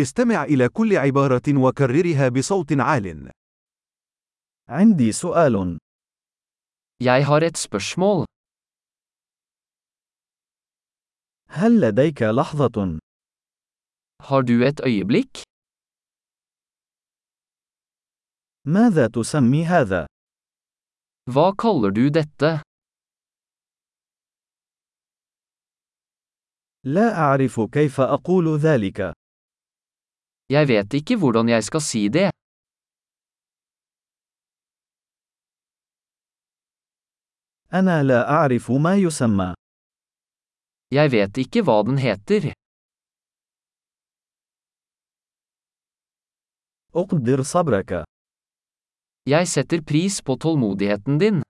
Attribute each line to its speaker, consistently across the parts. Speaker 1: استمع إلى كل عبارة وكررها بصوت عال.
Speaker 2: عندي سؤال.
Speaker 3: Jeg har et spørsmål.
Speaker 2: هل لديك لحظة؟
Speaker 3: Har du et øyeblikk?
Speaker 2: ماذا تسمي هذا؟
Speaker 3: Hva kaller du dette?
Speaker 2: لا أعرف كيف أقول ذلك.
Speaker 3: Jeg vet ikke hvordan jeg skal si det.
Speaker 2: أنا لا أعرف ما يسمى.
Speaker 3: Jeg vet ikke hva den heter.
Speaker 2: أقدر صبرك.
Speaker 3: Jeg setter pris på tålmodigheten din.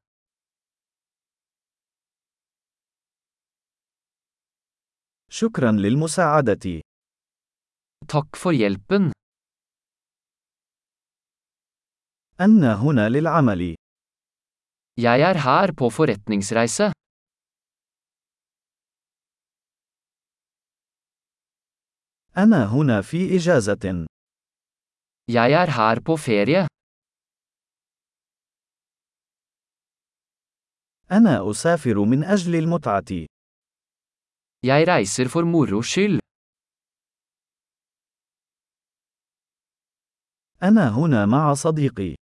Speaker 2: شكرا للمساعدة.
Speaker 3: Takk for hjelpen.
Speaker 2: أنا هنا للعمل.
Speaker 3: Jeg er her på forretningsreise.
Speaker 2: أنا هنا في إجازة.
Speaker 3: Jeg er her på ferie.
Speaker 2: أنا أسافر من أجل المتعة.
Speaker 3: Jeg reiser for moro skyld.
Speaker 2: أنا هنا مع صديقي.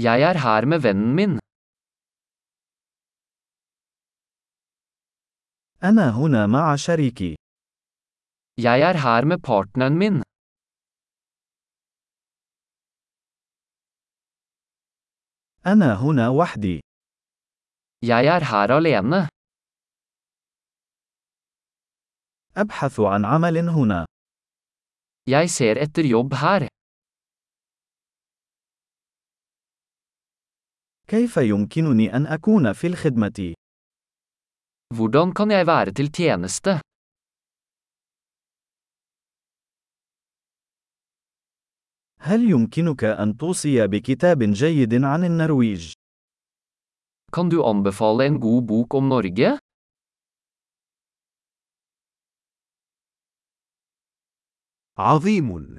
Speaker 3: Jeg er her med vennen min.
Speaker 2: أنا هنا مع شريكي.
Speaker 3: Jeg er her med partneren min.
Speaker 2: أنا هنا وحدي.
Speaker 3: Jeg er her alene.
Speaker 2: أبحث عن عمل هنا.
Speaker 3: Jeg ser etter jobb her.
Speaker 2: كيف يمكنني أن أكون في الخدمة؟
Speaker 3: Hvordan kan jeg være til tjeneste?
Speaker 2: هل يمكنك أن توصي بكتاب جيد عن النرويج؟
Speaker 3: Kan du anbefale en god bok om Norge?
Speaker 1: عظيم!